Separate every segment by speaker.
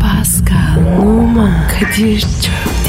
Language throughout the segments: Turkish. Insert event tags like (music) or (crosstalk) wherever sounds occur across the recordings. Speaker 1: Pascal, Oman, Kadir çok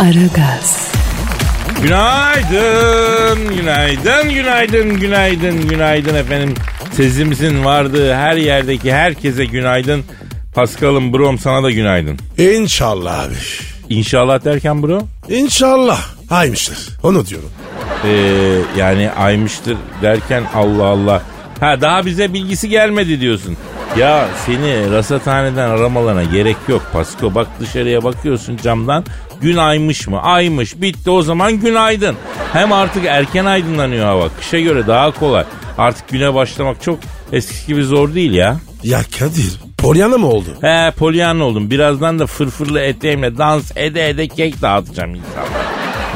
Speaker 1: Aragaz,
Speaker 2: Günaydın, günaydın, günaydın, günaydın, günaydın efendim. Sesimizin vardığı her yerdeki herkese günaydın. Paskal'ım, brom sana da günaydın.
Speaker 3: İnşallah abi.
Speaker 2: İnşallah derken bro,
Speaker 3: İnşallah. Haymıştır. Onu diyorum.
Speaker 2: ee, yani aymıştır derken Allah Allah. Ha daha bize bilgisi gelmedi diyorsun. Ya seni rasathaneden aramalarına gerek yok Pasko. Bak dışarıya bakıyorsun camdan. Gün aymış mı? Aymış. Bitti o zaman günaydın. Hem artık erken aydınlanıyor hava. Kışa göre daha kolay. Artık güne başlamak çok eskisi gibi zor değil ya.
Speaker 3: Ya Kadir. Polyana mı oldu?
Speaker 2: He polyan oldum. Birazdan da fırfırlı eteğimle dans ede ede kek dağıtacağım insanlara.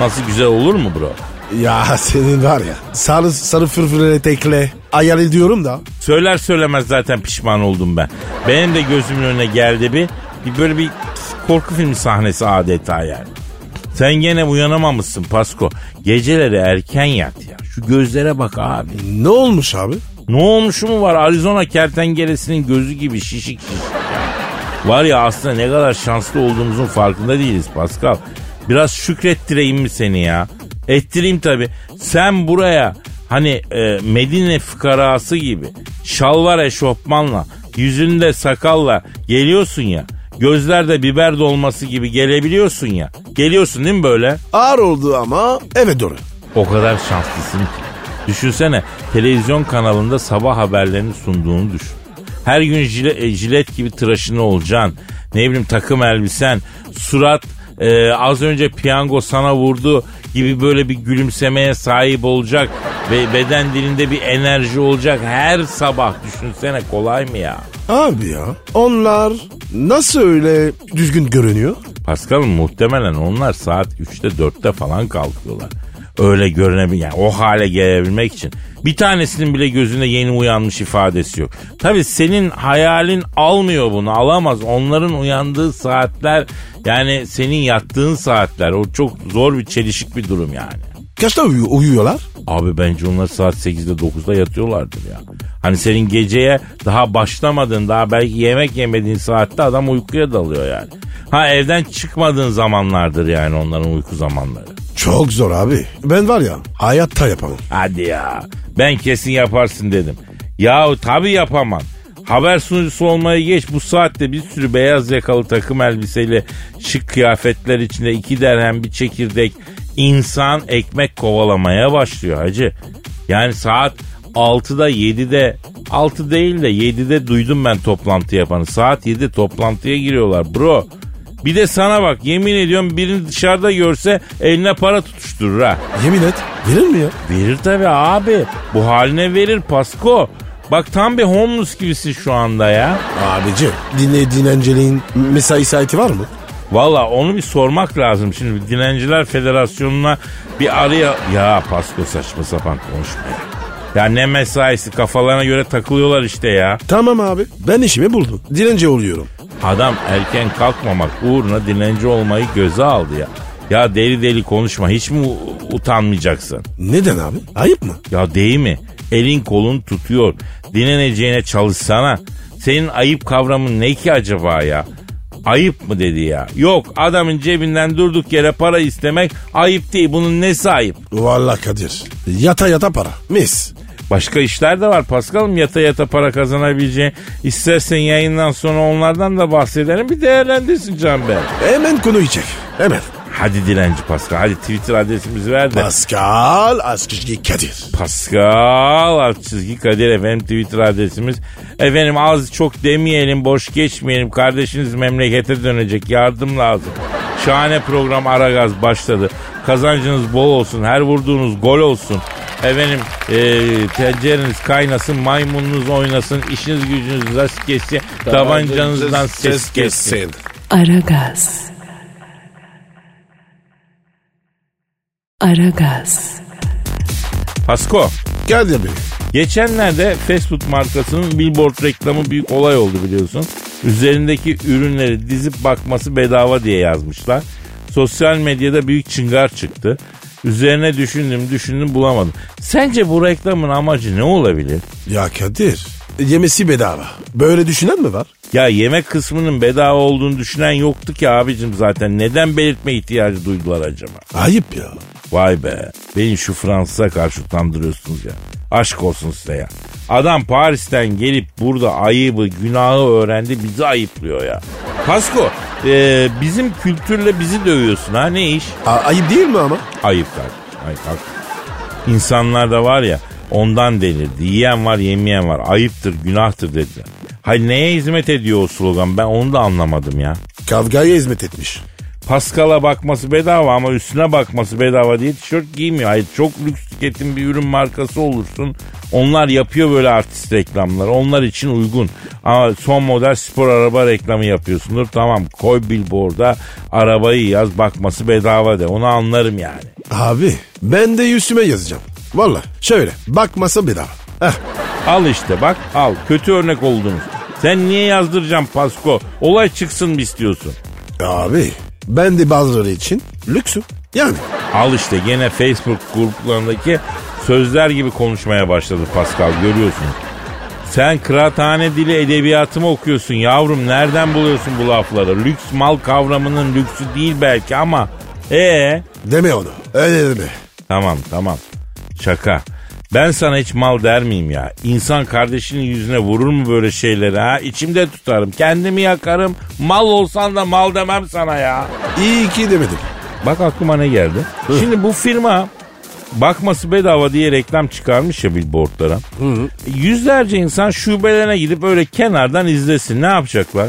Speaker 2: Nasıl güzel olur mu bro?
Speaker 3: Ya senin var ya. Sarı, sarı fırfırlı tekle. Ayar ediyorum da.
Speaker 2: Söyler söylemez zaten pişman oldum ben. Benim de gözümün önüne geldi bir, bir böyle bir korku filmi sahnesi adeta yani. Sen gene uyanamamışsın Pasko. Geceleri erken yat ya. Şu gözlere bak abi.
Speaker 3: Ne olmuş abi?
Speaker 2: Ne olmuşu mu var? Arizona kertenkelesinin gözü gibi şişik şişik. Var ya aslında ne kadar şanslı olduğumuzun farkında değiliz Pascal. Biraz şükrettireyim mi seni ya? Ettireyim tabii. Sen buraya hani e, Medine fıkarası gibi şalvar eşofmanla, yüzünde sakalla geliyorsun ya. Gözlerde biber dolması gibi gelebiliyorsun ya. Geliyorsun değil mi böyle?
Speaker 3: Ağır oldu ama eve doğru.
Speaker 2: O kadar şanslısın ki. Düşünsene televizyon kanalında sabah haberlerini sunduğunu düşün. Her gün jile- e, jilet gibi tıraşını olacaksın. Ne bileyim takım elbisen, surat e, az önce piyango sana vurdu gibi böyle bir gülümsemeye sahip olacak. Ve beden dilinde bir enerji olacak her sabah düşünsene kolay mı ya?
Speaker 3: Abi ya. Onlar nasıl öyle düzgün görünüyor?
Speaker 2: Pascal'ım muhtemelen onlar saat 3'te 4'te falan kalkıyorlar. Öyle görünebilir yani o hale gelebilmek için. Bir tanesinin bile gözünde yeni uyanmış ifadesi yok. Tabi senin hayalin almıyor bunu alamaz. Onların uyandığı saatler yani senin yattığın saatler o çok zor bir çelişik bir durum yani.
Speaker 3: Kaçta uyu- uyuyorlar?
Speaker 2: Abi bence onlar saat 8'de 9'da yatıyorlardır ya. Hani senin geceye daha başlamadığın, daha belki yemek yemediğin saatte adam uykuya dalıyor yani. Ha evden çıkmadığın zamanlardır yani onların uyku zamanları.
Speaker 3: Çok zor abi. Ben var ya hayatta yapamam.
Speaker 2: Hadi ya. Ben kesin yaparsın dedim. Yahu tabii yapamam. Haber sunucusu olmayı geç bu saatte bir sürü beyaz yakalı takım elbiseyle şık kıyafetler içinde iki derhem bir çekirdek insan ekmek kovalamaya başlıyor hacı. Yani saat 6'da 7'de 6 değil de 7'de duydum ben toplantı yapanı. Saat 7 toplantıya giriyorlar bro. Bir de sana bak yemin ediyorum birini dışarıda görse eline para tutuşturur ha.
Speaker 3: Yemin et. Verir mi ya?
Speaker 2: Verir tabi abi. Bu haline verir Pasko. Bak tam bir homeless gibisin şu anda ya.
Speaker 3: Abici dinle dinenceliğin mesai saati var mı?
Speaker 2: Valla onu bir sormak lazım. Şimdi Dilenciler Federasyonu'na bir araya... Ya Pasko saçma sapan konuşma ya. Ya ne mesaisi kafalarına göre takılıyorlar işte ya.
Speaker 3: Tamam abi. Ben işimi buldum. Dilenci oluyorum.
Speaker 2: Adam erken kalkmamak uğruna dilenci olmayı göze aldı ya. Ya deli deli konuşma hiç mi u- utanmayacaksın?
Speaker 3: Neden abi? Ayıp mı?
Speaker 2: Ya değil mi? Elin kolun tutuyor. Dinleneceğine çalışsana. Senin ayıp kavramın ne ki acaba ya? Ayıp mı dedi ya? Yok adamın cebinden durduk yere para istemek ayıp değil. Bunun nesi ayıp?
Speaker 3: Vallahi Kadir. Yata yata para. Mis.
Speaker 2: Başka işler de var Paskal'ım yata yata para kazanabileceğin. İstersen yayından sonra onlardan da bahsedelim bir değerlendirsin Can Bey.
Speaker 3: Hemen konuyu çek. Hemen.
Speaker 2: Hadi dilenci Paskal hadi Twitter adresimizi ver de.
Speaker 3: Pascal Askışki Kadir.
Speaker 2: Pascal alt çizgi Kadir efendim Twitter adresimiz. Efendim az çok demeyelim boş geçmeyelim kardeşiniz memlekete dönecek yardım lazım. Şahane program Aragaz başladı. Kazancınız bol olsun her vurduğunuz gol olsun. Efendim e, tencereniz kaynasın, maymununuz oynasın, işiniz gücünüz rast geçsin, tabancanızdan ses geçsin.
Speaker 1: Aragaz. Aragaz.
Speaker 2: Pasko,
Speaker 3: Kadir Bey.
Speaker 2: geçenlerde fast food markasının billboard reklamı büyük olay oldu biliyorsun. Üzerindeki ürünleri dizip bakması bedava diye yazmışlar. Sosyal medyada büyük çıngar çıktı. Üzerine düşündüm düşündüm bulamadım. Sence bu reklamın amacı ne olabilir?
Speaker 3: Ya Kadir. Yemesi bedava. Böyle düşünen mi var?
Speaker 2: Ya yemek kısmının bedava olduğunu düşünen yoktu ki abicim zaten. Neden belirtme ihtiyacı duydular acaba?
Speaker 3: Ayıp ya.
Speaker 2: Vay be. Beni şu Fransız'a karşı utandırıyorsunuz ya. Aşk olsun size ya. Adam Paris'ten gelip burada ayıbı, günahı öğrendi bizi ayıplıyor ya. Pasko, e, bizim kültürle bizi dövüyorsun ha ne iş?
Speaker 3: A- ayıp değil mi ama?
Speaker 2: Ayıp kardeşim, ayıp haklı. İnsanlar da var ya ondan delirdi. Yiyen var yemeyen var. Ayıptır günahtır dediler. Hay neye hizmet ediyor o slogan ben onu da anlamadım ya.
Speaker 3: Kavgaya hizmet etmiş.
Speaker 2: Paskal'a bakması bedava ama üstüne bakması bedava diye tişört giymiyor. Hayır çok lüks tüketim bir ürün markası olursun. Onlar yapıyor böyle artist reklamları. Onlar için uygun. Ama son model spor araba reklamı yapıyorsundur. Tamam koy billboard'a arabayı yaz bakması bedava de. Onu anlarım yani.
Speaker 3: Abi ben de üstüme yazacağım. Valla şöyle bakmasa bedava. Heh.
Speaker 2: Al işte bak al. Kötü örnek oldunuz. Sen niye yazdıracaksın Pasko? Olay çıksın mı istiyorsun?
Speaker 3: Abi ben de bazıları için lüksüm. Yani
Speaker 2: Al işte gene Facebook gruplarındaki sözler gibi konuşmaya başladı Pascal görüyorsun. Sen kıraathane dili edebiyatımı okuyorsun yavrum nereden buluyorsun bu lafları? Lüks mal kavramının lüksü değil belki ama ee
Speaker 3: deme onu. Öyle deme.
Speaker 2: Tamam tamam şaka. Ben sana hiç mal der miyim ya? İnsan kardeşinin yüzüne vurur mu böyle şeyleri ha? İçimde tutarım. Kendimi yakarım. Mal olsan da mal demem sana ya.
Speaker 3: İyi ki demedim.
Speaker 2: Bak aklıma ne geldi. Şimdi bu firma bakması bedava diye reklam çıkarmış ya billboardlara. Yüzlerce insan şubelerine gidip öyle kenardan izlesin. Ne yapacaklar?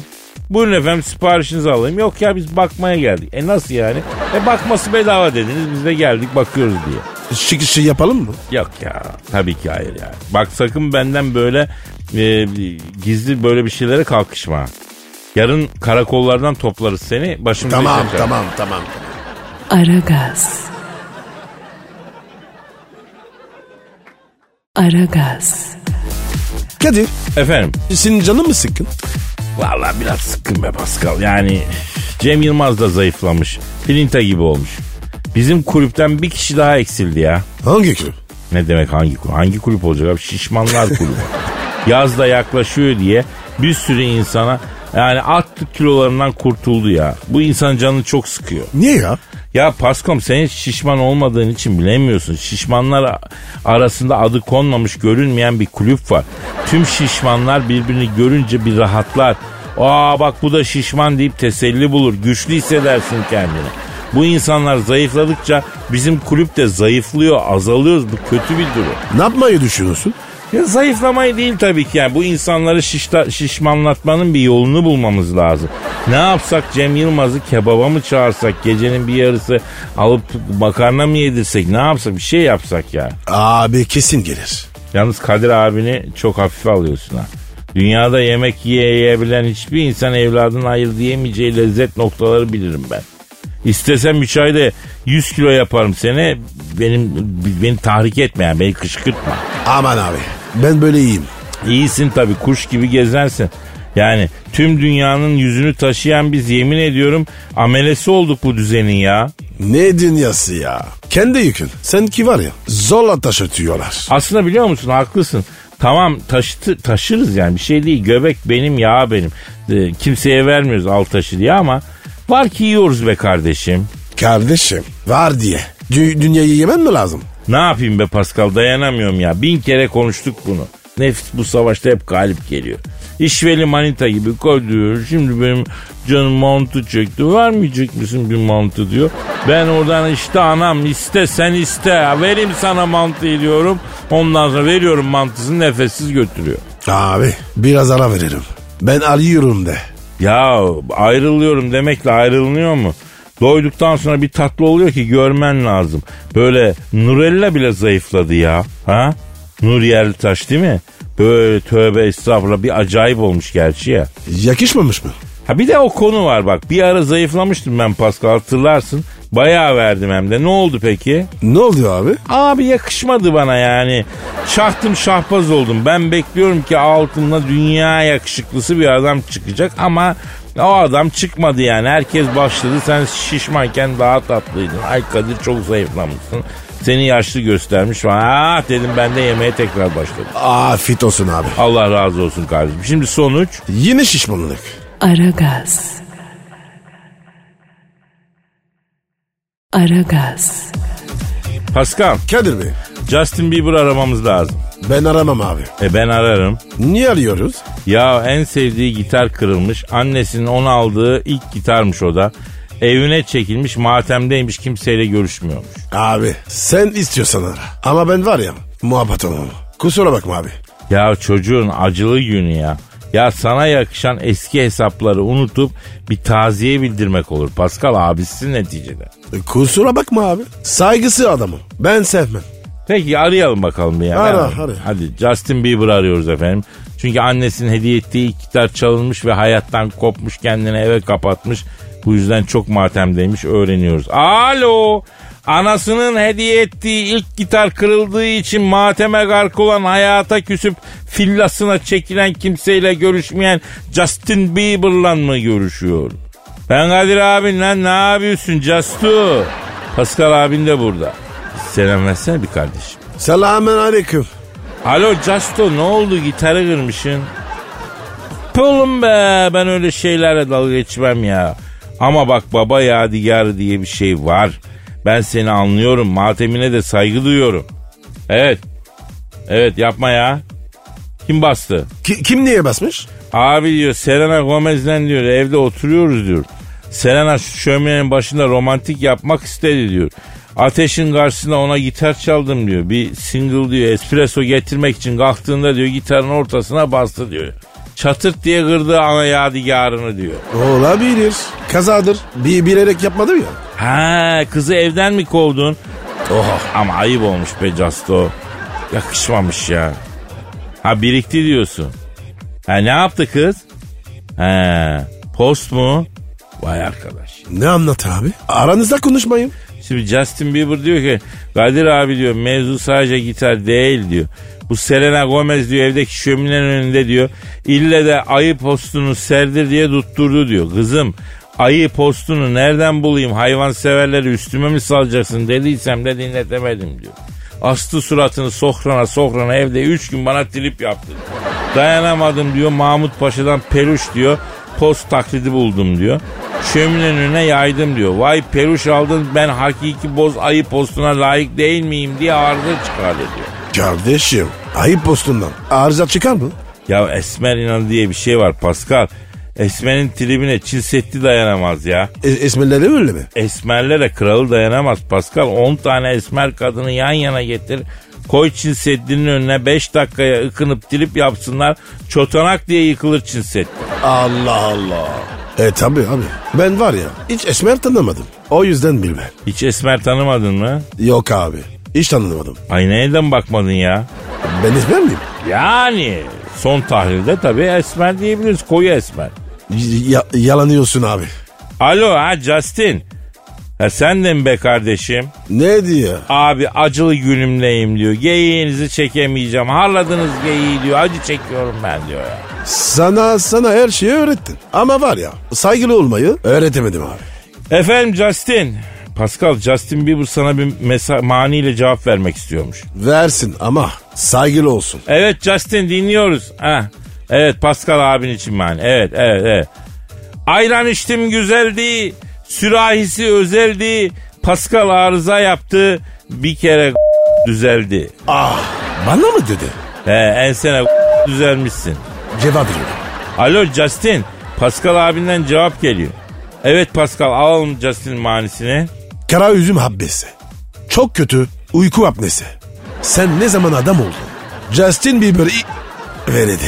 Speaker 2: Buyurun efendim siparişinizi alayım. Yok ya biz bakmaya geldik. E nasıl yani? E bakması bedava dediniz biz de geldik bakıyoruz diye.
Speaker 3: Çıkışı yapalım mı?
Speaker 2: Yok ya tabii ki hayır yani. Bak sakın benden böyle e, gizli böyle bir şeylere kalkışma. Yarın karakollardan toplarız seni başımıza iş
Speaker 3: Tamam
Speaker 2: açarız.
Speaker 3: tamam tamam.
Speaker 1: Aragaz. Aragaz.
Speaker 3: Kadir
Speaker 2: Efendim
Speaker 3: senin canın mı sıkkın?
Speaker 2: Vallahi biraz sıkkın be Pascal. Yani Cem Yılmaz da zayıflamış. Filinta gibi olmuş. Bizim kulüpten bir kişi daha eksildi ya.
Speaker 3: Hangi kulüp?
Speaker 2: Ne demek hangi kulüp? Hangi kulüp olacak abi? Şişmanlar kulübü. Yaz da yaklaşıyor diye bir sürü insana yani attı kilolarından kurtuldu ya. Bu insan canını çok sıkıyor.
Speaker 3: Niye ya?
Speaker 2: Ya Paskom sen hiç şişman olmadığın için bilemiyorsun. Şişmanlar a- arasında adı konmamış görünmeyen bir kulüp var. Tüm şişmanlar birbirini görünce bir rahatlar. Aa bak bu da şişman deyip teselli bulur. Güçlü hissedersin kendini. Bu insanlar zayıfladıkça bizim kulüp de zayıflıyor, azalıyoruz. Bu kötü bir durum.
Speaker 3: Ne yapmayı düşünüyorsun?
Speaker 2: Ya zayıflamayı değil tabii ki yani bu insanları şişta, şişmanlatmanın bir yolunu bulmamız lazım. Ne yapsak Cem Yılmaz'ı kebaba mı çağırsak gecenin bir yarısı alıp makarna mı yedirsek ne yapsak bir şey yapsak ya.
Speaker 3: Abi kesin gelir.
Speaker 2: Yalnız Kadir abini çok hafife alıyorsun ha. Dünyada yemek yiyebilen hiçbir insan evladının hayır diyemeyeceği lezzet noktaları bilirim ben. İstesem 3 ayda 100 kilo yaparım seni. Benim beni tahrik etme yani beni kışkırtma.
Speaker 3: Aman abi ben böyle iyiyim.
Speaker 2: İyisin tabii kuş gibi gezersin. Yani tüm dünyanın yüzünü taşıyan biz yemin ediyorum amelesi olduk bu düzenin ya.
Speaker 3: Ne dünyası ya? Kendi yükün. Sen ki var ya zorla taşıtıyorlar.
Speaker 2: Aslında biliyor musun haklısın. Tamam taşıtı, taşırız yani bir şey değil. Göbek benim ya benim. Ee, kimseye vermiyoruz al taşı diye ama var ki yiyoruz be kardeşim.
Speaker 3: Kardeşim var diye. Dü- dünyayı yemen mi lazım?
Speaker 2: Ne yapayım be Pascal dayanamıyorum ya. Bin kere konuştuk bunu. Nefis bu savaşta hep galip geliyor. İşveli manita gibi koy diyor. Şimdi benim canım mantı çekti. Vermeyecek misin bir mantı diyor. Ben oradan işte anam iste sen iste. Vereyim sana mantıyı diyorum. Ondan sonra veriyorum mantısını nefessiz götürüyor.
Speaker 3: Abi biraz ara veririm. Ben arıyorum de.
Speaker 2: Ya ayrılıyorum demekle ayrılınıyor mu? Doyduktan sonra bir tatlı oluyor ki görmen lazım. Böyle Nurella bile zayıfladı ya. Ha? Nur Yerlitaş değil mi? Böyle tövbe estağfurullah bir acayip olmuş gerçi ya.
Speaker 3: Yakışmamış mı?
Speaker 2: Ha bir de o konu var bak. Bir ara zayıflamıştım ben Pascal hatırlarsın. Bayağı verdim hem de. Ne oldu peki?
Speaker 3: Ne oluyor abi?
Speaker 2: Abi yakışmadı bana yani. Şahtım şahbaz oldum. Ben bekliyorum ki altında dünya yakışıklısı bir adam çıkacak ama o adam çıkmadı yani. Herkes başladı. Sen şişmanken daha tatlıydın. Ay Kadir çok zayıflamışsın. Seni yaşlı göstermiş falan. Ah dedim ben de yemeğe tekrar başladım.
Speaker 3: Afiyet olsun abi.
Speaker 2: Allah razı olsun kardeşim. Şimdi sonuç
Speaker 3: Yine şişmanlık.
Speaker 1: Aragaz. Aragaz.
Speaker 2: Pascal
Speaker 3: Kadir Bey
Speaker 2: Justin Bieber aramamız lazım.
Speaker 3: ben aramam abi.
Speaker 2: E ben ararım.
Speaker 3: Niye arıyoruz?
Speaker 2: Ya en sevdiği gitar kırılmış. Annesinin onu aldığı ilk gitarmış o da. Evine çekilmiş matemdeymiş kimseyle görüşmüyormuş.
Speaker 3: Abi sen istiyorsan ara. Ama ben var ya muhabbet olmam. Kusura bakma abi.
Speaker 2: Ya çocuğun acılı günü ya. Ya sana yakışan eski hesapları unutup bir taziye bildirmek olur. Pascal abisi neticede.
Speaker 3: E, Kusura bakma abi. Saygısı adamım. Ben sevmem.
Speaker 2: Peki arayalım bakalım bir ya.
Speaker 3: Ara,
Speaker 2: Merhaba.
Speaker 3: ara.
Speaker 2: Hadi Justin Bieber arıyoruz efendim. Çünkü annesinin hediye ettiği ilk gitar çalınmış ve hayattan kopmuş kendini eve kapatmış. Bu yüzden çok matemdeymiş öğreniyoruz. Alo. Anasının hediye ettiği ilk gitar kırıldığı için mateme gark olan hayata küsüp fillasına çekilen kimseyle görüşmeyen Justin Bieber'la mı görüşüyor? Ben Kadir abin lan ne yapıyorsun Justu? Pascal abin de burada. Selam versene bir kardeşim.
Speaker 3: Selamun aleyküm.
Speaker 2: Alo Justo ne oldu gitarı kırmışsın? Pulum be ben öyle şeylerle dalga geçmem ya. Ama bak baba yadigarı diye bir şey var. Ben seni anlıyorum matemine de saygı duyuyorum. Evet. Evet yapma ya. Kim bastı?
Speaker 3: Ki- kim niye basmış?
Speaker 2: Abi diyor Selena Gomez'den diyor evde oturuyoruz diyor. Selena şu şöminenin başında romantik yapmak istedi diyor. Ateşin karşısında ona gitar çaldım diyor. Bir single diyor espresso getirmek için kalktığında diyor gitarın ortasına bastı diyor. Çatırt diye kırdı ana yadigarını diyor.
Speaker 3: Olabilir. Kazadır. Bir bilerek yapmadım ya.
Speaker 2: Ha kızı evden mi kovdun? Oh,
Speaker 3: Oha.
Speaker 2: Ama ayıp olmuş be Casto. Yakışmamış ya. Ha birikti diyorsun. Ha ne yaptı kız? He post mu? Vay arkadaş.
Speaker 3: Ne anlat abi? Aranızda konuşmayın.
Speaker 2: Şimdi Justin Bieber diyor ki Kadir abi diyor mevzu sadece gitar değil diyor. Bu Selena Gomez diyor evdeki şöminenin önünde diyor. İlle de ayı postunu serdir diye tutturdu diyor. Kızım ayı postunu nereden bulayım hayvanseverleri üstüme mi salacaksın dediysem de dinletemedim diyor. Astı suratını sohrana sohrana evde 3 gün bana trip yaptı. Dayanamadım diyor Mahmut Paşa'dan peluş diyor. Post taklidi buldum diyor. Şöminenin önüne yaydım diyor. Vay peluş aldın ben hakiki boz ayı postuna layık değil miyim diye arıza çıkardı diyor.
Speaker 3: Kardeşim ayıp postundan. Arıza çıkar mı?
Speaker 2: Ya Esmer İnan diye bir şey var Pascal. Esmer'in tribine Çin Seddi dayanamaz ya.
Speaker 3: E, esmerleri öyle mi?
Speaker 2: Esmerlere kralı dayanamaz Pascal. 10 tane esmer kadını yan yana getir. Koy Çin Seddi'nin önüne 5 dakikaya ıkınıp dilip yapsınlar. Çotanak diye yıkılır Çin Seddi.
Speaker 3: Allah Allah. E tabi abi. Ben var ya hiç esmer tanımadım. O yüzden bilmem.
Speaker 2: Hiç esmer tanımadın mı?
Speaker 3: Yok abi. Hiç tanımadım.
Speaker 2: Ay neyden bakmadın ya?
Speaker 3: Ben esmer miyim?
Speaker 2: Yani son tahlilde tabii esmer diyebiliriz. Koyu esmer.
Speaker 3: Y- ya- yalanıyorsun abi.
Speaker 2: Alo ha Justin. Ha sen de mi be kardeşim?
Speaker 3: Ne diyor?
Speaker 2: Abi acılı günümdeyim diyor. Geyiğinizi çekemeyeceğim. Harladınız geyiği diyor. Acı çekiyorum ben diyor ya.
Speaker 3: Sana sana her şeyi öğrettin. Ama var ya saygılı olmayı öğretemedim abi.
Speaker 2: Efendim Justin. Pascal Justin Bieber sana bir mesa- maniyle cevap vermek istiyormuş.
Speaker 3: Versin ama saygılı olsun.
Speaker 2: Evet Justin dinliyoruz. Ha. Evet Pascal abin için mani. Evet evet evet. Ayran içtim güzeldi. Sürahisi özeldi. Pascal arıza yaptı. Bir kere (laughs) düzeldi.
Speaker 3: Ah bana mı dedi?
Speaker 2: He ensene (laughs) düzelmişsin.
Speaker 3: Cevap veriyor.
Speaker 2: Alo Justin. Pascal abinden cevap geliyor. Evet Pascal alalım Justin'in manisini.
Speaker 3: Kara üzüm habbesi. Çok kötü uyku apnesi. Sen ne zaman adam oldun? Justin Bieber i- verdi.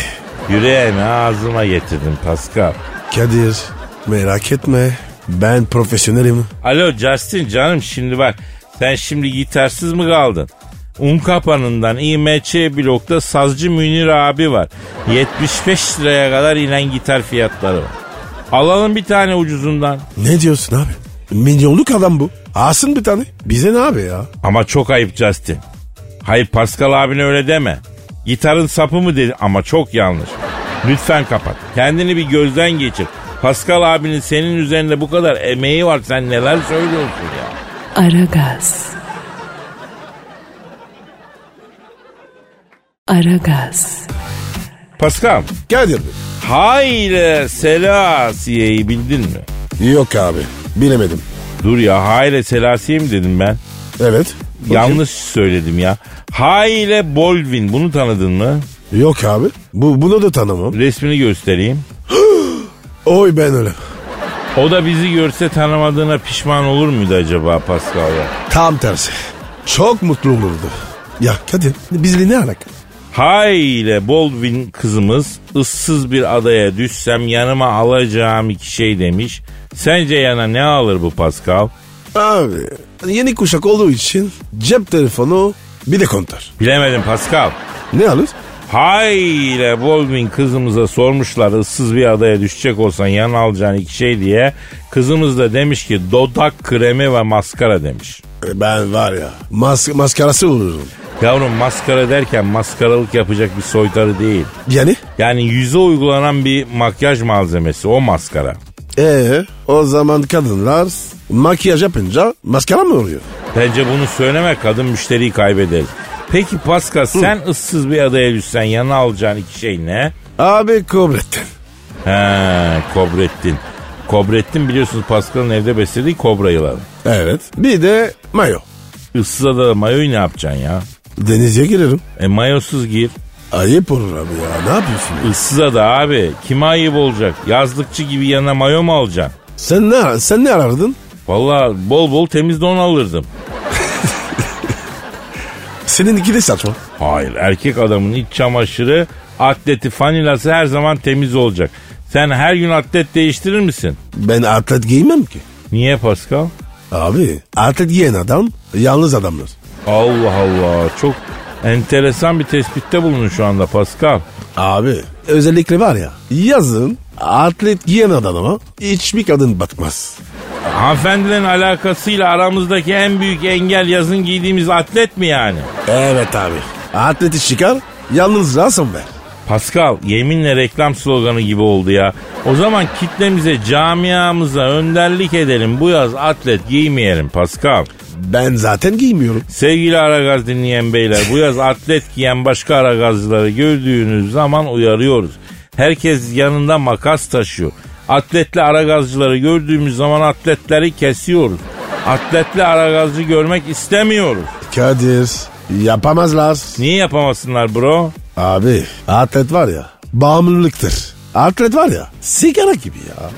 Speaker 2: Yüreğimi ağzıma getirdim Pascal.
Speaker 3: Kadir merak etme Ben profesyonelim.
Speaker 2: Alo Justin canım şimdi bak sen şimdi gitarsız mı kaldın? Unkapanı'ndan İMÇ blokta sazcı Münir abi var. 75 liraya kadar inen gitar fiyatları var. Alalım bir tane ucuzundan.
Speaker 3: Ne diyorsun abi? Milyonluk adam bu. Alsın bir tane. Bize ne abi ya?
Speaker 2: Ama çok ayıp Justin. Hayır Pascal abine öyle deme. Gitarın sapı mı dedi ama çok yanlış. Lütfen kapat. Kendini bir gözden geçir. Pascal abinin senin üzerinde bu kadar emeği var. Sen neler söylüyorsun ya?
Speaker 1: Aragaz. Aragaz.
Speaker 2: Pascal,
Speaker 3: Kadir
Speaker 2: Hayre Selassiye'yi bildin mi?
Speaker 3: Bey. Yok abi. Bilemedim.
Speaker 2: Dur ya Hayre Selasiye mi dedim ben?
Speaker 3: Evet.
Speaker 2: Yanlış söyledim ya. Hayre Bolvin bunu tanıdın mı?
Speaker 3: Yok abi. Bu, bunu da tanımam.
Speaker 2: Resmini göstereyim.
Speaker 3: Oy ben öyle.
Speaker 2: O da bizi görse tanımadığına pişman olur muydu acaba Pascal ya?
Speaker 3: Tam tersi. Çok mutlu olurdu. Ya Kadir bizle ne alaka?
Speaker 2: Hayre Baldwin kızımız ıssız bir adaya düşsem yanıma alacağım iki şey demiş. Sence yana ne alır bu Pascal?
Speaker 3: Abi hani yeni kuşak olduğu için cep telefonu bir de kontar.
Speaker 2: Bilemedim Pascal.
Speaker 3: Ne alır?
Speaker 2: Hayre Baldwin kızımıza sormuşlar ıssız bir adaya düşecek olsan yanına alacağın iki şey diye. Kızımız da demiş ki dodak kremi ve maskara demiş.
Speaker 3: E, Ben var ya mas maskarası olurum.
Speaker 2: Yavrum maskara derken maskaralık yapacak bir soytarı değil.
Speaker 3: Yani?
Speaker 2: Yani yüze uygulanan bir makyaj malzemesi o maskara.
Speaker 3: Ee, o zaman kadınlar makyaj yapınca maskara mı oluyor?
Speaker 2: Bence bunu söyleme kadın müşteriyi kaybederiz. Peki Pascal sen ıssız bir adaya düşsen yanına alacağın iki şey ne?
Speaker 3: Abi Kobrettin.
Speaker 2: He kobrettin. Kobrettin biliyorsunuz Pascal'ın evde beslediği kobra yılanı.
Speaker 3: Evet. Bir de mayo.
Speaker 2: Issız adada mayoyu ne yapacaksın ya?
Speaker 3: Denize girerim.
Speaker 2: E mayosuz gir.
Speaker 3: Ayıp olur abi ya ne yapıyorsun?
Speaker 2: Issız ada abi. Kime ayıp olacak? Yazlıkçı gibi yanına mayo mu alacaksın?
Speaker 3: Sen ne, sen ne arardın?
Speaker 2: Valla bol bol temiz don alırdım.
Speaker 3: Senin iki de saçma.
Speaker 2: Hayır erkek adamın iç çamaşırı, atleti, fanilası her zaman temiz olacak. Sen her gün atlet değiştirir misin?
Speaker 3: Ben atlet giymem ki.
Speaker 2: Niye Pascal?
Speaker 3: Abi atlet giyen adam yalnız adamlar.
Speaker 2: Allah Allah çok enteresan bir tespitte bulundun şu anda Pascal.
Speaker 3: Abi özellikle var ya yazın atlet giyen adama hiçbir kadın batmaz.
Speaker 2: Hanımefendilerin alakasıyla aramızdaki en büyük engel yazın giydiğimiz atlet mi yani?
Speaker 3: Evet abi. Atleti çıkar yalnız lazım ver.
Speaker 2: Pascal yeminle reklam sloganı gibi oldu ya. O zaman kitlemize, camiamıza önderlik edelim. Bu yaz atlet giymeyelim Pascal.
Speaker 3: Ben zaten giymiyorum.
Speaker 2: Sevgili Aragaz dinleyen beyler bu yaz atlet giyen başka Aragazlıları gördüğünüz zaman uyarıyoruz. Herkes yanında makas taşıyor. Atletli Aragazcıları gördüğümüz zaman atletleri kesiyoruz. Atletli Aragazcı görmek istemiyoruz.
Speaker 3: Kadir yapamazlar.
Speaker 2: Niye yapamasınlar bro?
Speaker 3: Abi atlet var ya bağımlılıktır. Atlet var ya sigara gibi ya.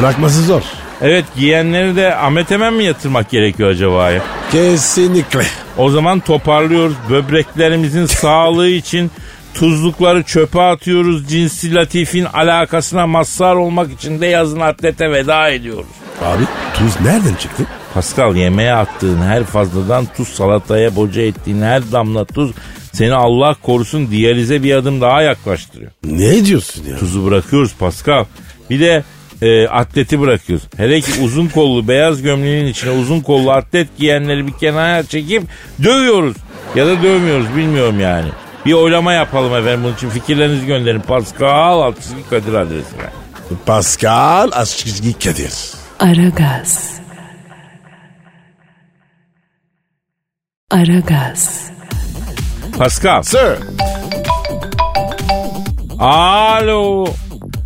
Speaker 3: Bırakması zor.
Speaker 2: Evet giyenleri de Ahmet Emen mi yatırmak gerekiyor acaba ya?
Speaker 3: Kesinlikle.
Speaker 2: O zaman toparlıyoruz. Böbreklerimizin sağlığı için tuzlukları çöpe atıyoruz. Cinsi latifin alakasına mazhar olmak için de yazın atlete veda ediyoruz.
Speaker 3: Abi tuz nereden çıktı?
Speaker 2: Pascal yemeğe attığın her fazladan tuz salataya boca ettiğin her damla tuz seni Allah korusun diyalize bir adım daha yaklaştırıyor.
Speaker 3: Ne diyorsun ya?
Speaker 2: Tuzu bırakıyoruz Pascal. Bir de e, atleti bırakıyoruz. Hele ki uzun kollu beyaz gömleğin içine uzun kollu atlet giyenleri bir kenara çekip dövüyoruz. Ya da dövmüyoruz bilmiyorum yani. Bir oylama yapalım efendim bunun için fikirlerinizi gönderin. Pascal Altçizgi Kadir adresine.
Speaker 3: Pascal Askizgi Kadir.
Speaker 1: Aragaz. Aragaz.
Speaker 2: Pascal.
Speaker 3: Sir.
Speaker 2: Alo.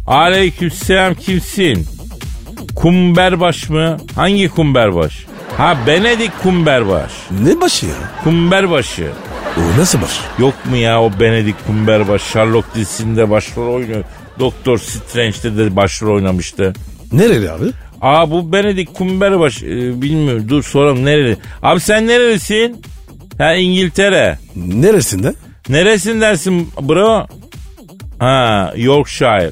Speaker 2: Aleykümselam kimsin? Kumberbaş mı? Hangi kumberbaş? Ha Benedik Kumberbaş.
Speaker 3: Ne başı ya?
Speaker 2: Kumberbaşı.
Speaker 3: O nasıl baş?
Speaker 2: Yok mu ya o Benedict Cumberbatch Sherlock dizisinde başrol oynuyor. Doktor Strange'de de başrol oynamıştı.
Speaker 3: Nereli abi?
Speaker 2: Aa bu Benedict Cumberbatch e, bilmiyorum dur soralım nereli. Abi sen nerelisin? Ha İngiltere.
Speaker 3: Neresinde?
Speaker 2: Neresin dersin bro? Ha Yorkshire.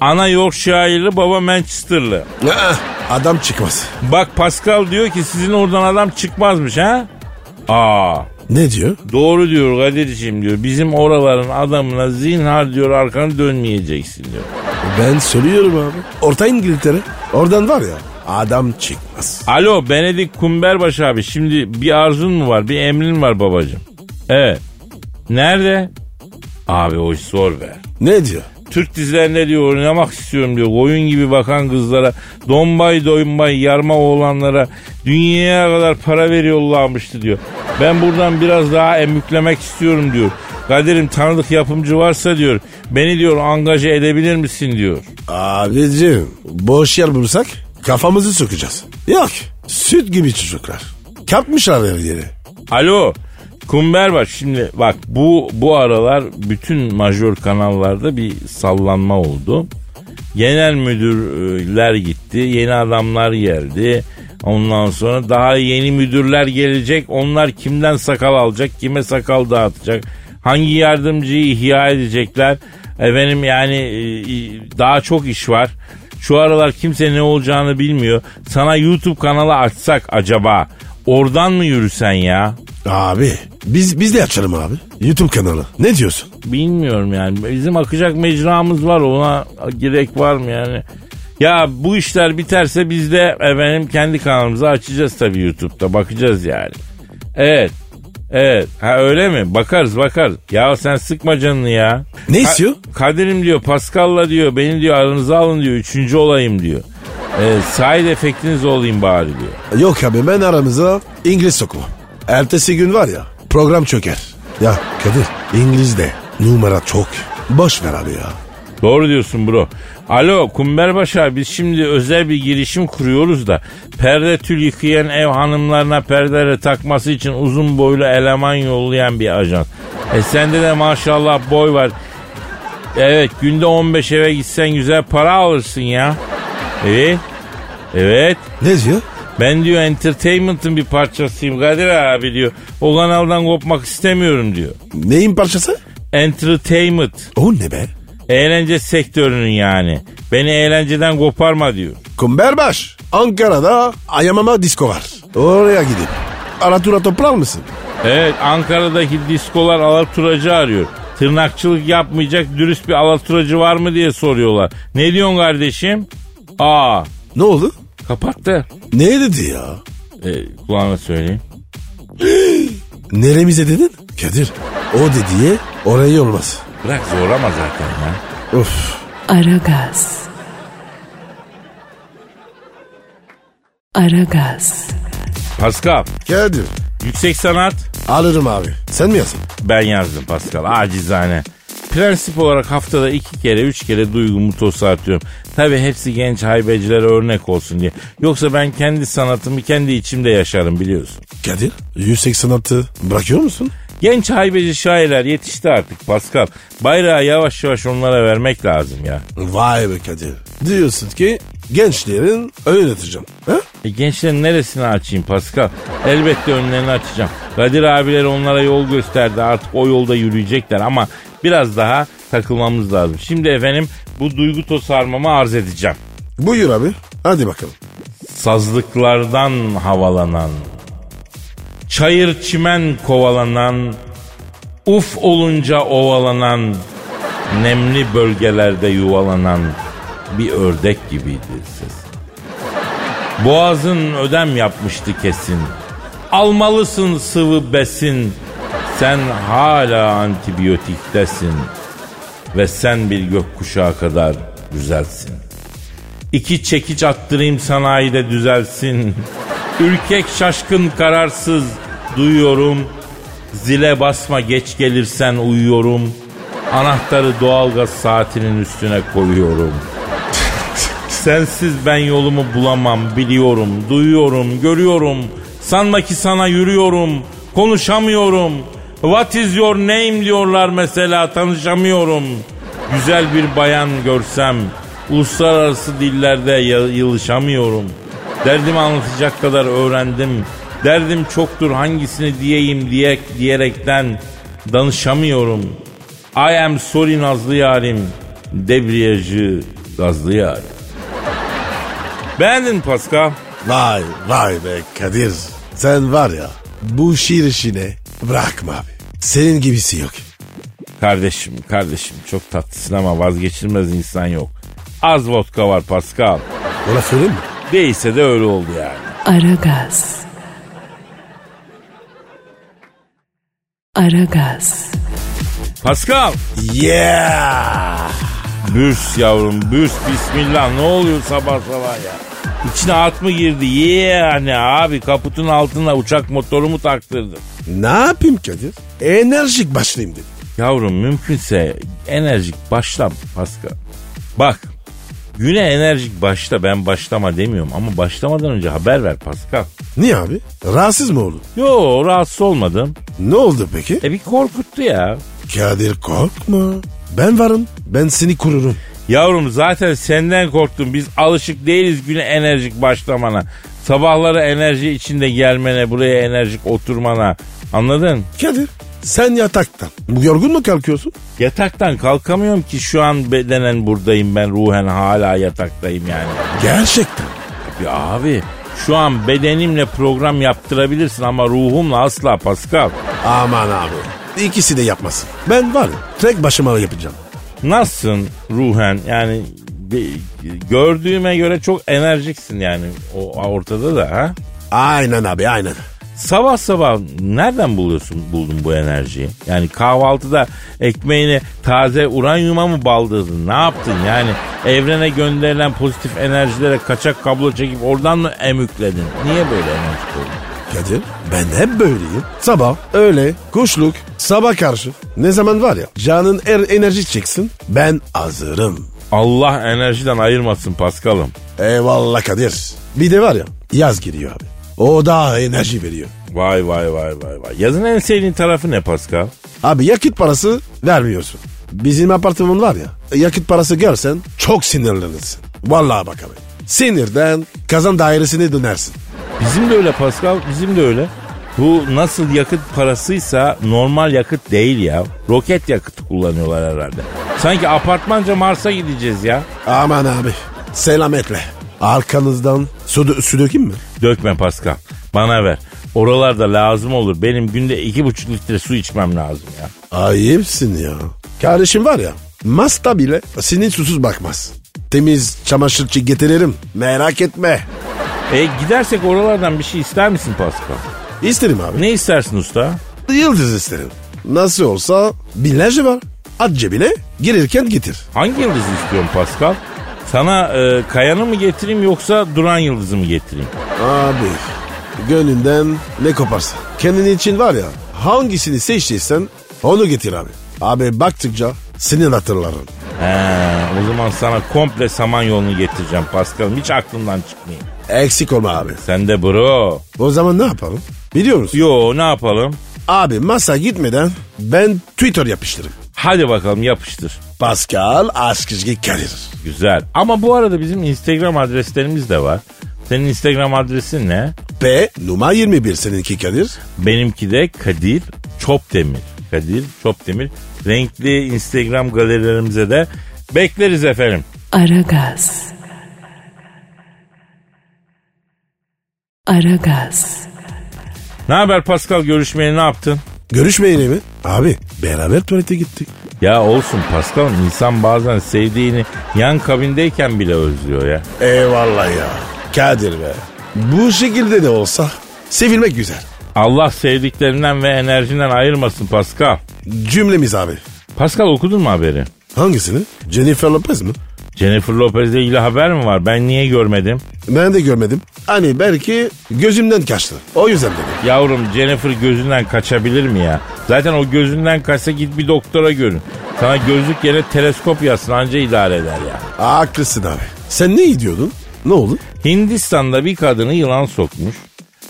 Speaker 2: Ana Yorkshire'lı baba Manchester'lı.
Speaker 3: Aa, adam çıkmaz.
Speaker 2: Bak Pascal diyor ki sizin oradan adam çıkmazmış ha? Aa
Speaker 3: Ne diyor?
Speaker 2: doğru diyor Kadir'ciğim diyor. Bizim oraların adamına zinhar diyor arkanı dönmeyeceksin diyor.
Speaker 3: Ben söylüyorum abi. Orta İngiltere. Oradan var ya adam çıkmaz.
Speaker 2: Alo Benedik Kumberbaş abi şimdi bir arzun mu var bir emrin var babacığım. Evet. Nerede? Abi o iş zor be.
Speaker 3: Ne diyor?
Speaker 2: Türk dizilerinde diyor oynamak istiyorum diyor. Koyun gibi bakan kızlara, dombay doyumbay yarma oğlanlara dünyaya kadar para veriyorlarmıştı diyor. Ben buradan biraz daha emüklemek istiyorum diyor. Kadir'im tanıdık yapımcı varsa diyor beni diyor angaje edebilir misin diyor.
Speaker 3: Abicim boş yer bulursak kafamızı sokacağız. Yok süt gibi çocuklar. Kapmışlar her yeri.
Speaker 2: Alo Kumber bak şimdi bak bu bu aralar bütün majör kanallarda bir sallanma oldu. Genel müdürler gitti, yeni adamlar geldi. Ondan sonra daha yeni müdürler gelecek. Onlar kimden sakal alacak, kime sakal dağıtacak, hangi yardımcıyı ihya edecekler. Efendim yani e, e, daha çok iş var. Şu aralar kimse ne olacağını bilmiyor. Sana YouTube kanalı açsak acaba oradan mı yürüsen ya?
Speaker 3: Abi biz biz de açalım abi. YouTube kanalı. Ne diyorsun?
Speaker 2: Bilmiyorum yani. Bizim akacak mecramız var. Ona gerek var mı yani? Ya bu işler biterse biz de efendim kendi kanalımızı açacağız tabii YouTube'da. Bakacağız yani. Evet. Evet. Ha öyle mi? Bakarız bakarız. Ya sen sıkma canını ya.
Speaker 3: Ne
Speaker 2: Ka-
Speaker 3: istiyor?
Speaker 2: Kadir'im diyor Pascal'la diyor beni diyor aranıza alın diyor. Üçüncü olayım diyor. Ee, sahil efektiniz olayım bari diyor.
Speaker 3: Yok abi ben aramıza İngiliz sokmam. Ertesi gün var ya program çöker. Ya Kadir İngiliz'de numara çok. Boş ver abi ya.
Speaker 2: Doğru diyorsun bro. Alo Kumberbaş abi biz şimdi özel bir girişim kuruyoruz da perde tül yıkayan ev hanımlarına perdere takması için uzun boylu eleman yollayan bir ajans. E sende de maşallah boy var. Evet günde 15 eve gitsen güzel para alırsın ya. Evet. Evet.
Speaker 3: Ne diyor?
Speaker 2: Ben diyor entertainment'ın bir parçasıyım Kadir abi diyor. O kanaldan kopmak istemiyorum diyor.
Speaker 3: Neyin parçası?
Speaker 2: Entertainment.
Speaker 3: O ne be?
Speaker 2: Eğlence sektörünün yani. Beni eğlenceden koparma diyor.
Speaker 3: Kumberbaş. Ankara'da Ayamama Disko var. Oraya gidip. Aratura toplar mısın?
Speaker 2: Evet Ankara'daki diskolar alaturacı arıyor. Tırnakçılık yapmayacak dürüst bir alaturacı var mı diye soruyorlar. Ne diyorsun kardeşim? Aa
Speaker 3: Ne oldu?
Speaker 2: kapattı.
Speaker 3: Ne dedi ya?
Speaker 2: E, kulağına söyleyeyim.
Speaker 3: Neremize dedin? Kadir. O dediği orayı olmaz.
Speaker 2: Bırak zorlama zaten ya.
Speaker 3: Of.
Speaker 1: Aragaz. Aragaz.
Speaker 2: Pascal
Speaker 3: Kadir.
Speaker 2: yüksek sanat
Speaker 3: Alırım abi. Sen mi yazın?
Speaker 2: ben yazdım Pascal acizane. Prensip olarak haftada iki kere üç kere duygumu tosartıyorum. Tabi hepsi genç haybecilere örnek olsun diye. Yoksa ben kendi sanatımı kendi içimde yaşarım biliyorsun.
Speaker 3: Kadir. 186 bırakıyor musun?
Speaker 2: Genç haybeci şairler yetişti artık Pascal. Bayrağı yavaş yavaş onlara vermek lazım ya.
Speaker 3: Vay be Kadir. Diyorsun ki gençlerin öyle yatacağım. Ha?
Speaker 2: E gençlerin neresini açayım Pascal? Elbette önlerini açacağım. Kadir abiler onlara yol gösterdi. Artık o yolda yürüyecekler ama biraz daha takılmamız lazım. Şimdi efendim bu duygu tosarmamı arz edeceğim.
Speaker 3: Buyur abi. Hadi bakalım.
Speaker 2: Sazlıklardan havalanan, çayır çimen kovalanan, uf olunca ovalanan, nemli bölgelerde yuvalanan bir ördek gibiydi ses. Boğazın ödem yapmıştı kesin. Almalısın sıvı besin. Sen hala antibiyotiktesin. Ve sen bir gökkuşağı kadar güzelsin. İki çekiç attırayım sanayide düzelsin. Ürkek şaşkın kararsız duyuyorum. Zile basma geç gelirsen uyuyorum. Anahtarı doğalgaz saatinin üstüne koyuyorum. Sensiz ben yolumu bulamam biliyorum, duyuyorum, görüyorum. Sanma ki sana yürüyorum, konuşamıyorum. What is your name diyorlar mesela tanışamıyorum. Güzel bir bayan görsem uluslararası dillerde ya- yılışamıyorum. Derdimi anlatacak kadar öğrendim. Derdim çoktur hangisini diyeyim diye diyerekten danışamıyorum. I am sorry Nazlı yarim. Debriyajı Nazlı yarim. Beğendin mi Pascal?
Speaker 3: Vay vay be Kadir. Sen var ya bu şiir işine bırakma abi. Senin gibisi yok.
Speaker 2: Kardeşim kardeşim çok tatlısın ama vazgeçilmez insan yok. Az vodka var Pascal.
Speaker 3: Ona söyleyeyim mi?
Speaker 2: Değilse de öyle oldu yani.
Speaker 1: Aragaz. Aragaz.
Speaker 2: Pascal.
Speaker 3: Yeah.
Speaker 2: Bürs yavrum bürs bismillah ne oluyor sabah sabah ya. İçine at mı girdi? Yani abi kaputun altına uçak motorumu taktırdım.
Speaker 3: Ne yapayım Kadir? Enerjik başlayayım dedim.
Speaker 2: Yavrum mümkünse enerjik başla Pascal. Bak güne enerjik başla ben başlama demiyorum ama başlamadan önce haber ver Pascal.
Speaker 3: Niye abi? Rahatsız mı oldun?
Speaker 2: Yo rahatsız olmadım.
Speaker 3: Ne oldu peki?
Speaker 2: E bir korkuttu ya.
Speaker 3: Kadir korkma. Ben varım. Ben seni kururum.
Speaker 2: Yavrum zaten senden korktum. Biz alışık değiliz güne enerjik başlamana. Sabahları enerji içinde gelmene, buraya enerjik oturmana. Anladın?
Speaker 3: Kadir sen yataktan. Bu yorgun mu kalkıyorsun?
Speaker 2: Yataktan kalkamıyorum ki şu an bedenen buradayım ben ruhen hala yataktayım yani.
Speaker 3: Gerçekten.
Speaker 2: Ya abi şu an bedenimle program yaptırabilirsin ama ruhumla asla Pascal.
Speaker 3: Aman abi. İkisi de yapmasın. Ben varım. Tek başıma yapacağım.
Speaker 2: Nasılsın ruhen yani de- gördüğüme göre çok enerjiksin yani o ortada da ha?
Speaker 3: Aynen abi aynen.
Speaker 2: Sabah sabah nereden buluyorsun buldun bu enerjiyi? Yani kahvaltıda ekmeğini taze uranyuma mı baldırdın? Ne yaptın? Yani evrene gönderilen pozitif enerjilere kaçak kablo çekip oradan mı emükledin? Niye böyle enerji koydun?
Speaker 3: Kadir ben hep böyleyim. Sabah, öğle, kuşluk, sabah karşı. Ne zaman var ya canın er enerji çeksin ben hazırım.
Speaker 2: Allah enerjiden ayırmasın Paskal'ım.
Speaker 3: Eyvallah Kadir. Bir de var ya yaz giriyor abi. O daha enerji veriyor.
Speaker 2: Vay vay vay vay vay. Yazın en sevdiğin tarafı ne Pascal?
Speaker 3: Abi yakıt parası vermiyorsun. Bizim apartman var ya yakıt parası görsen çok sinirlenirsin. Vallahi bak abi. Sinirden kazan dairesine dönersin.
Speaker 2: Bizim de öyle Pascal, bizim de öyle. Bu nasıl yakıt parasıysa normal yakıt değil ya. Roket yakıtı kullanıyorlar herhalde. Sanki apartmanca Mars'a gideceğiz ya.
Speaker 3: Aman abi selametle. Arkanızdan su, dö- su dökeyim mi?
Speaker 2: Dökme Pascal. Bana ver. Oralarda lazım olur. Benim günde iki buçuk litre su içmem lazım ya.
Speaker 3: Ayıpsın ya. Kardeşim var ya Masta bile senin susuz bakmaz. Temiz çamaşırçı getiririm. Merak etme.
Speaker 2: E gidersek oralardan bir şey ister misin Pascal?
Speaker 3: İsterim abi.
Speaker 2: Ne istersin usta?
Speaker 3: Yıldız isterim. Nasıl olsa binlerce var. At cebine girirken getir.
Speaker 2: Hangi yıldızı istiyorsun Pascal? Sana e, kayanı mı getireyim yoksa duran yıldızı mı getireyim?
Speaker 3: Abi gönlünden ne koparsa. Kendin için var ya hangisini seçtiysen onu getir abi. Abi baktıkça senin hatırların.
Speaker 2: He, Ee, o zaman sana komple saman yolunu getireceğim Pascal'ım. Hiç aklımdan çıkmayayım.
Speaker 3: Eksik olma abi.
Speaker 2: Sen de bro.
Speaker 3: O zaman ne yapalım? Biliyoruz.
Speaker 2: Yo ne yapalım?
Speaker 3: Abi masa gitmeden ben Twitter yapıştırırım.
Speaker 2: Hadi bakalım yapıştır.
Speaker 3: Pascal Askizgi Kadir.
Speaker 2: Güzel. Ama bu arada bizim Instagram adreslerimiz de var. Senin Instagram adresin ne?
Speaker 3: P numara 21 seninki Kadir.
Speaker 2: Benimki de Kadir Çopdemir. Kadir Çopdemir. Renkli Instagram galerilerimize de bekleriz efendim.
Speaker 1: Aragaz. Aragaz.
Speaker 2: Ne haber Pascal görüşmeye ne yaptın?
Speaker 3: Görüşmeyeli mi? Abi beraber tuvalete gittik.
Speaker 2: Ya olsun Pascal'ım insan bazen sevdiğini yan kabindeyken bile özlüyor ya.
Speaker 3: Eyvallah ya. Kadir be. Bu şekilde de olsa sevilmek güzel.
Speaker 2: Allah sevdiklerinden ve enerjinden ayırmasın Pascal.
Speaker 3: Cümlemiz abi.
Speaker 2: Pascal okudun mu haberi?
Speaker 3: Hangisini? Jennifer Lopez mi?
Speaker 2: Jennifer Lopez'le ilgili haber mi var? Ben niye görmedim?
Speaker 3: Ben de görmedim. Hani belki gözümden kaçtı. O yüzden dedim.
Speaker 2: Yavrum Jennifer gözünden kaçabilir mi ya? Zaten o gözünden kaçsa git bir doktora görün. Sana gözlük yerine teleskop yazsın anca idare eder ya.
Speaker 3: Haklısın abi. Sen ne diyordun? Ne oldu?
Speaker 2: Hindistan'da bir kadını yılan sokmuş.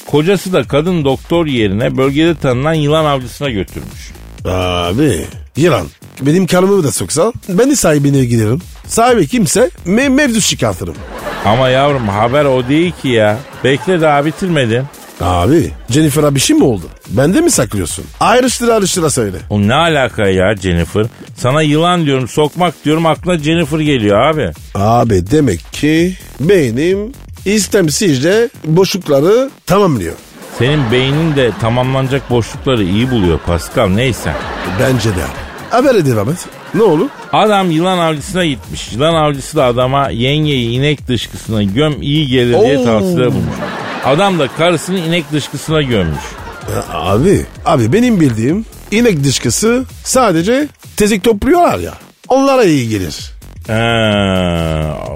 Speaker 2: Kocası da kadın doktor yerine bölgede tanınan yılan avcısına götürmüş.
Speaker 3: Abi yılan. Benim karımı da soksa ben de sahibine giderim. Sahibi kimse me mevzu çıkartırım.
Speaker 2: Ama yavrum haber o değil ki ya. Bekle daha bitirmedim.
Speaker 3: Abi Jennifer'a bir şey mi oldu? Bende mi saklıyorsun? Ayrıştıra ayrıştıra söyle.
Speaker 2: O ne alaka ya Jennifer? Sana yılan diyorum sokmak diyorum aklına Jennifer geliyor abi.
Speaker 3: Abi demek ki benim istemsizce boşlukları tamamlıyor.
Speaker 2: Senin beynin de tamamlanacak boşlukları iyi buluyor Pascal neyse.
Speaker 3: Bence de abi. Haber devam et. Ne olur?
Speaker 2: Adam yılan avcısına gitmiş. Yılan avcısı da adama yengeyi inek dışkısına göm iyi gelir diye
Speaker 3: Oo.
Speaker 2: tavsiye bulmuş. Adam da karısını inek dışkısına gömmüş.
Speaker 3: Ya abi. Abi benim bildiğim inek dışkısı sadece tezik topluyorlar ya. Onlara iyi gelir.
Speaker 2: Ee,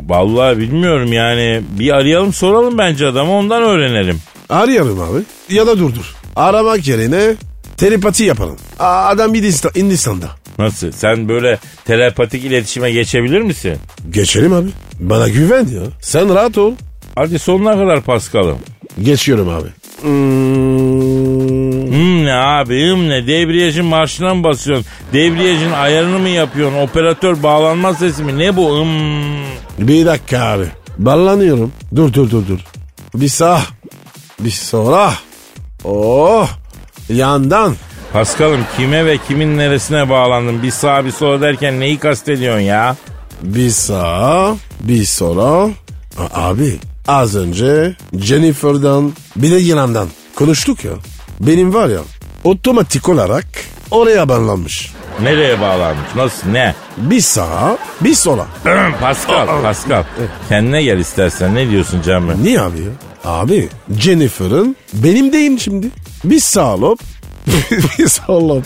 Speaker 2: vallahi bilmiyorum yani. Bir arayalım soralım bence adamı ondan öğrenelim.
Speaker 3: Arayalım abi. Ya da durdur. Aramak yerine telepati yapalım. Aa, Adam Hindistan, Hindistan'da.
Speaker 2: Nasıl? Sen böyle telepatik iletişime geçebilir misin?
Speaker 3: Geçelim abi. Bana güven ya. Sen rahat ol.
Speaker 2: Hadi sonuna kadar Paskal'ım.
Speaker 3: Geçiyorum abi. Hmm.
Speaker 2: Hım ne abi hım ne debriyajın marşına mı basıyorsun? Debriyajın ayarını mı yapıyorsun? Operatör bağlanma sesi mi? Ne bu? Hmm. Hım.
Speaker 3: Bir dakika abi. Ballanıyorum. Dur dur dur dur. Bir sağ. Bir sola. Oh. Yandan.
Speaker 2: Paskal'ım kime ve kimin neresine bağlandın? Bir sağa bir sola derken neyi kastediyorsun ya?
Speaker 3: Bir sağ. Bir sola. A- abi az önce Jennifer'dan bir de Yılan'dan konuştuk ya. Benim var ya otomatik olarak oraya bağlanmış.
Speaker 2: Nereye bağlanmış? Nasıl? Ne? (clears throat)
Speaker 3: Bir sağa bir sola.
Speaker 2: Paskal, Paskal. Kendine gel istersen. Ne diyorsun Cemre?
Speaker 3: Niye abi ya? Abi Jennifer'ın benim deyim şimdi. Bir sağ lob (laughs) bir sol lob.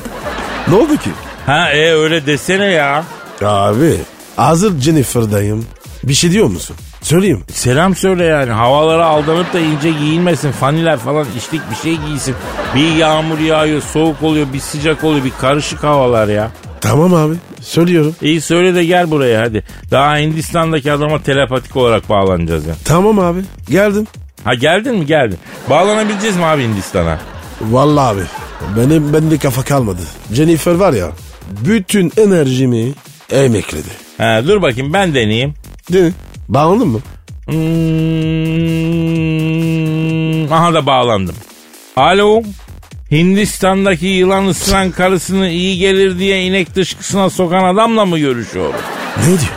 Speaker 3: Ne oldu ki?
Speaker 2: Ha e öyle desene ya.
Speaker 3: Abi hazır Jennifer'dayım. Bir şey diyor musun? Söyleyeyim.
Speaker 2: Selam söyle yani. Havalara aldanıp da ince giyinmesin. Faniler falan içlik bir şey giysin. Bir yağmur yağıyor, soğuk oluyor, bir sıcak oluyor. Bir karışık havalar ya.
Speaker 3: Tamam abi söylüyorum.
Speaker 2: İyi söyle de gel buraya hadi. Daha Hindistan'daki adama telepatik olarak bağlanacağız ya.
Speaker 3: Tamam abi geldim.
Speaker 2: Ha geldin mi geldin. Bağlanabileceğiz mi abi Hindistan'a?
Speaker 3: Vallahi abi benim bende kafa kalmadı. Jennifer var ya bütün enerjimi emekledi.
Speaker 2: Ha, dur bakayım ben deneyeyim.
Speaker 3: Değil mi? Bağlandın mı?
Speaker 2: Hmm, aha da bağlandım. Alo. Hindistan'daki yılan ısıran karısını iyi gelir diye inek dışkısına sokan adamla mı görüşüyor?
Speaker 3: Ne diyor?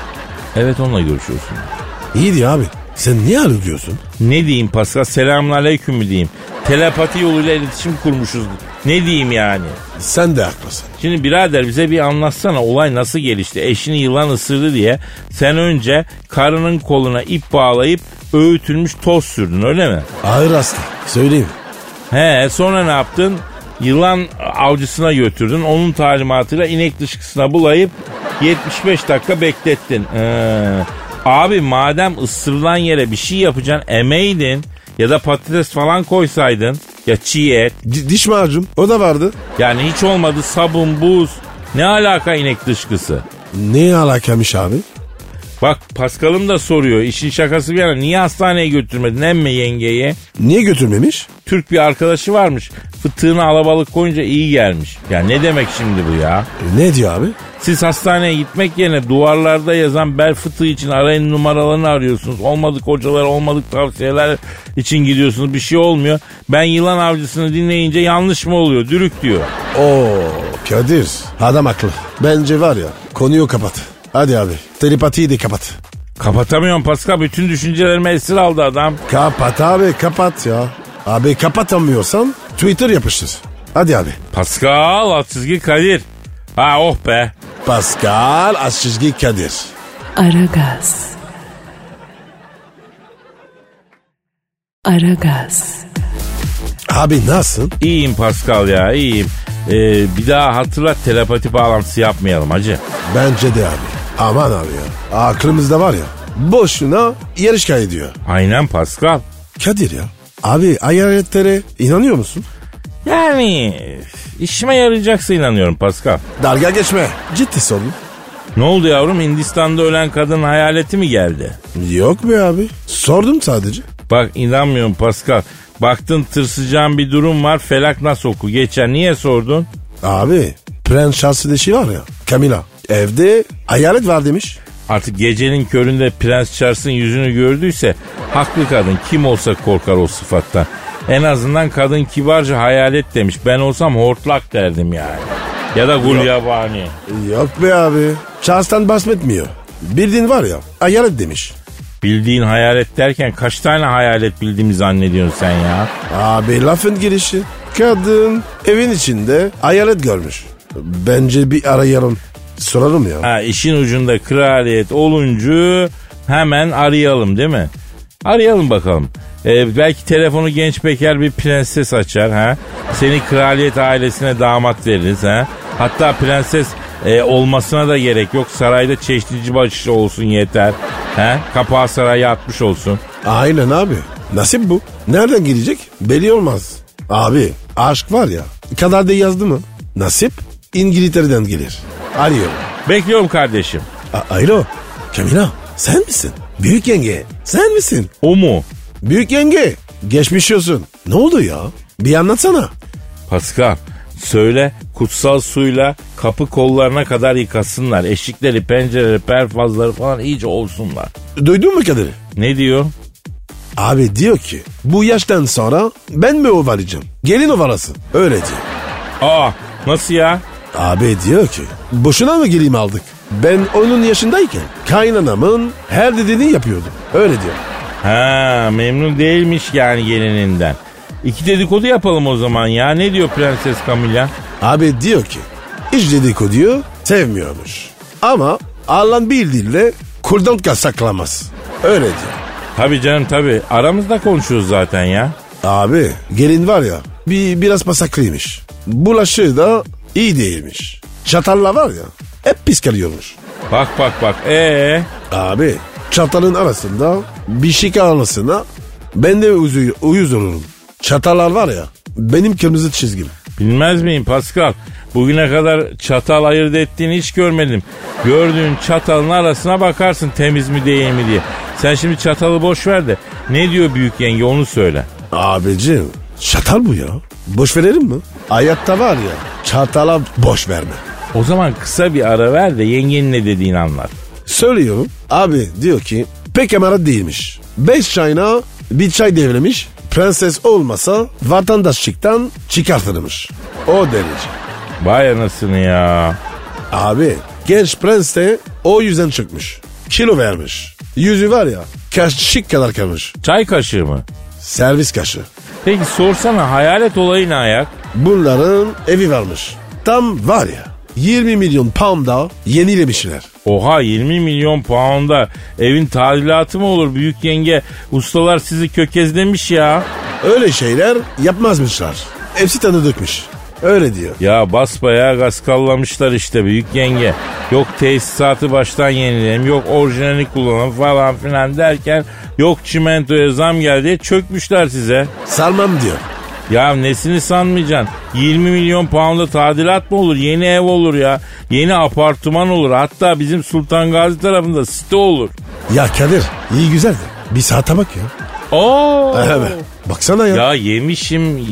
Speaker 2: Evet onunla görüşüyorsun.
Speaker 3: İyi diyor abi. Sen niye alo diyorsun?
Speaker 2: Ne diyeyim Pascal? Selamun aleyküm mü diyeyim? Telepati yoluyla iletişim kurmuşuz. Ne diyeyim yani?
Speaker 3: Sen de haklısın.
Speaker 2: Şimdi birader bize bir anlatsana olay nasıl gelişti? Eşini yılan ısırdı diye sen önce karının koluna ip bağlayıp öğütülmüş toz sürdün öyle mi?
Speaker 3: Ağır hasta. Söyleyeyim.
Speaker 2: He sonra ne yaptın? Yılan avcısına götürdün. Onun talimatıyla inek dışkısına bulayıp 75 dakika beklettin. Ee, abi madem ısırılan yere bir şey yapacaksın emeydin ya da patates falan koysaydın ya çiğ et
Speaker 3: Di- diş macun. O da vardı.
Speaker 2: yani hiç olmadı sabun buz ne alaka inek dışkısı?
Speaker 3: Ne alakamış abi?
Speaker 2: Bak Paskal'ım da soruyor işin şakası bir yana niye hastaneye götürmedin emme yengeyi?
Speaker 3: Niye götürmemiş?
Speaker 2: Türk bir arkadaşı varmış. Fıtığını alabalık koyunca iyi gelmiş. Ya ne demek şimdi bu ya?
Speaker 3: E, Ne diyor abi?
Speaker 2: Siz hastaneye gitmek yerine duvarlarda yazan bel fıtığı için arayın numaralarını arıyorsunuz. Olmadık hocalar, olmadık tavsiyeler için gidiyorsunuz. Bir şey olmuyor. Ben yılan avcısını dinleyince yanlış mı oluyor? Dürük diyor.
Speaker 3: Oo Kadir. Adam haklı. Bence var ya konuyu kapat. Hadi abi. Telepatiyi de kapat.
Speaker 2: Kapatamıyorum Pascal. Bütün düşüncelerimi esir aldı adam.
Speaker 3: Kapat abi kapat ya. Abi kapatamıyorsan Twitter yapıştır. Hadi abi.
Speaker 2: Pascal alt çizgi Kadir. Ha oh be.
Speaker 3: Pascal Aşçızgi Kadir.
Speaker 1: Aragaz. Aragaz.
Speaker 3: Abi nasılsın?
Speaker 2: İyiyim Pascal ya iyiyim. Ee, bir daha hatırlat telepati bağlantısı yapmayalım hacı.
Speaker 3: Bence de abi. Aman abi ya. Aklımızda var ya. Boşuna yarış kaydediyor.
Speaker 2: Aynen Pascal.
Speaker 3: Kadir ya. Abi hayaletlere inanıyor musun?
Speaker 2: Yani işime yarayacaksa inanıyorum Pascal.
Speaker 3: Dalga geçme. Ciddi sorun.
Speaker 2: Ne oldu yavrum Hindistan'da ölen kadın hayaleti mi geldi?
Speaker 3: Yok be abi. Sordum sadece.
Speaker 2: Bak inanmıyorum Pascal. Baktın tırsacağın bir durum var felak nasıl oku geçer niye sordun?
Speaker 3: Abi Prens Charles'ın eşi var ya. Camila. Evde hayalet var demiş.
Speaker 2: Artık gecenin köründe Prens Charles'ın yüzünü gördüyse haklı kadın kim olsa korkar o sıfattan. En azından kadın kibarca hayalet demiş. Ben olsam hortlak derdim yani. Ya da gulyabani.
Speaker 3: Yok be abi. Charles'tan bahsetmiyor. Bildiğin var ya hayalet demiş.
Speaker 2: Bildiğin hayalet derken kaç tane hayalet bildiğimi zannediyorsun sen ya?
Speaker 3: Abi lafın girişi. Kadın evin içinde hayalet görmüş. Bence bir arayalım. Soralım ya.
Speaker 2: Ha işin ucunda kraliyet olunca hemen arayalım değil mi? Arayalım bakalım. Ee, belki telefonu genç bekar bir prenses açar ha. Seni kraliyet ailesine damat veririz ha. Hatta prenses e, olmasına da gerek yok. Sarayda çeşnici başı olsun yeter. Ha? Kapağı saraya atmış olsun.
Speaker 3: Aynen abi. Nasip bu. Nereden gelecek? Belli olmaz. Abi aşk var ya. Kaderde yazdı mı? Nasip İngiltere'den gelir. Arıyorum.
Speaker 2: Bekliyorum kardeşim.
Speaker 3: A- Alo. Kamila sen misin? Büyük yenge sen misin?
Speaker 2: O mu?
Speaker 3: Büyük yenge geçmiş olsun. Ne oldu ya? Bir anlatsana.
Speaker 2: Pascal söyle kutsal suyla kapı kollarına kadar yıkasınlar. Eşikleri, pencereleri, perfazları falan iyice olsunlar.
Speaker 3: Duydun mu Kadir'i?
Speaker 2: Ne diyor?
Speaker 3: Abi diyor ki bu yaştan sonra ben mi ovalayacağım? Gelin ovalasın. Öyle diyor.
Speaker 2: Aa nasıl ya?
Speaker 3: Abi diyor ki boşuna mı geleyim aldık? Ben onun yaşındayken kaynanamın her dediğini yapıyordum. Öyle diyor.
Speaker 2: Ha memnun değilmiş yani gelininden. İki dedikodu yapalım o zaman ya. Ne diyor Prenses Camilla?
Speaker 3: Abi diyor ki hiç dedikoduyu sevmiyormuş. Ama Allah'ın bildiğiyle kurdan saklamaz. Öyle diyor.
Speaker 2: Tabii canım tabii. Aramızda konuşuyoruz zaten ya.
Speaker 3: Abi gelin var ya bir biraz pasaklıymış. Bulaşığı da iyi değilmiş. Çatalla var ya hep pis kalıyormuş.
Speaker 2: Bak bak bak. Ee
Speaker 3: Abi çatalın arasında bir şık arasında ben de uzu- uyuz olurum. Çatallar var ya benim kırmızı çizgim.
Speaker 2: bilmez miyim Pascal? Bugüne kadar çatal ayırt ettiğini hiç görmedim. Gördüğün çatalın arasına bakarsın temiz mi değil mi diye. Sen şimdi çatalı boş ver de ne diyor büyük yenge onu söyle.
Speaker 3: Abicim çatal bu ya. Boş verelim mi? Hayatta var ya çatala boş verme.
Speaker 2: O zaman kısa bir ara ver de yengenin ne dediğini anlat.
Speaker 3: Söylüyorum abi diyor ki pek emanet değilmiş. Beş çayına bir çay devlemiş. Prenses olmasa vatandaşlıktan çıkartılmış. O derece.
Speaker 2: Vay anasını ya.
Speaker 3: Abi genç prens de o yüzden çıkmış. Kilo vermiş. Yüzü var ya kaşık kadar kalmış.
Speaker 2: Çay kaşığı mı?
Speaker 3: Servis kaşı.
Speaker 2: Peki sorsana hayalet olayı ne ayak?
Speaker 3: Bunların evi varmış. Tam var ya 20 milyon pound'a yenilemişler.
Speaker 2: Oha 20 milyon pound'a evin tadilatı mı olur büyük yenge? Ustalar sizi kökezlemiş ya.
Speaker 3: Öyle şeyler yapmazmışlar. Hepsi tanıdıkmış. Öyle diyor.
Speaker 2: Ya basbayağı gaskallamışlar işte büyük yenge. Yok tesisatı baştan yenileyelim, yok orijinalini kullanalım falan filan derken yok çimentoya zam geldi diye çökmüşler size.
Speaker 3: Salmam diyor.
Speaker 2: Ya nesini sanmayacaksın? 20 milyon pound'a tadilat mı olur? Yeni ev olur ya. Yeni apartman olur. Hatta bizim Sultan Gazi tarafında site olur.
Speaker 3: Ya Kadir iyi güzel de bir saate bak ya.
Speaker 2: Oo.
Speaker 3: Evet. Baksana ya.
Speaker 2: Ya yemişim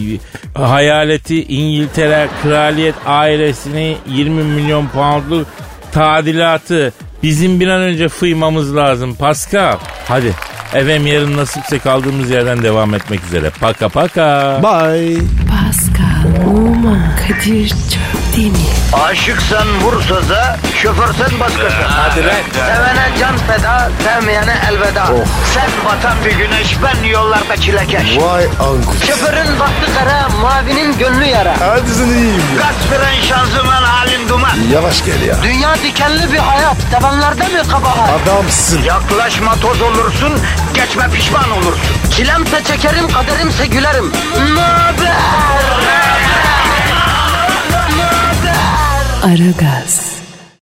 Speaker 2: hayaleti İngiltere kraliyet ailesini 20 milyon poundluk tadilatı bizim bir an önce fıymamız lazım Pascal. Hadi efendim yarın nasipse kaldığımız yerden devam etmek üzere. Paka paka.
Speaker 3: Bye.
Speaker 1: Pascal, Oman, Kadir çok değil mi?
Speaker 4: Aşıksan vursa da, şoförsen başkasın. Hadi
Speaker 2: lan.
Speaker 4: Sevene can feda, sevmeyene elveda. Sen batan bir güneş, ben yollarda çilekeş.
Speaker 3: Vay anku.
Speaker 4: Şoförün baktı kara, mavinin gönlü yara.
Speaker 3: Hadi sen iyiyim ya.
Speaker 4: Kasperen şanzıman halin duman.
Speaker 3: Yavaş gel ya.
Speaker 4: Dünya dikenli bir hayat, sevenlerde mi kabahar?
Speaker 3: Adamsın.
Speaker 4: Yaklaşma toz olursun, geçme pişman olursun. Çilemse çekerim, kaderimse gülerim. Möber!
Speaker 1: Aragaz.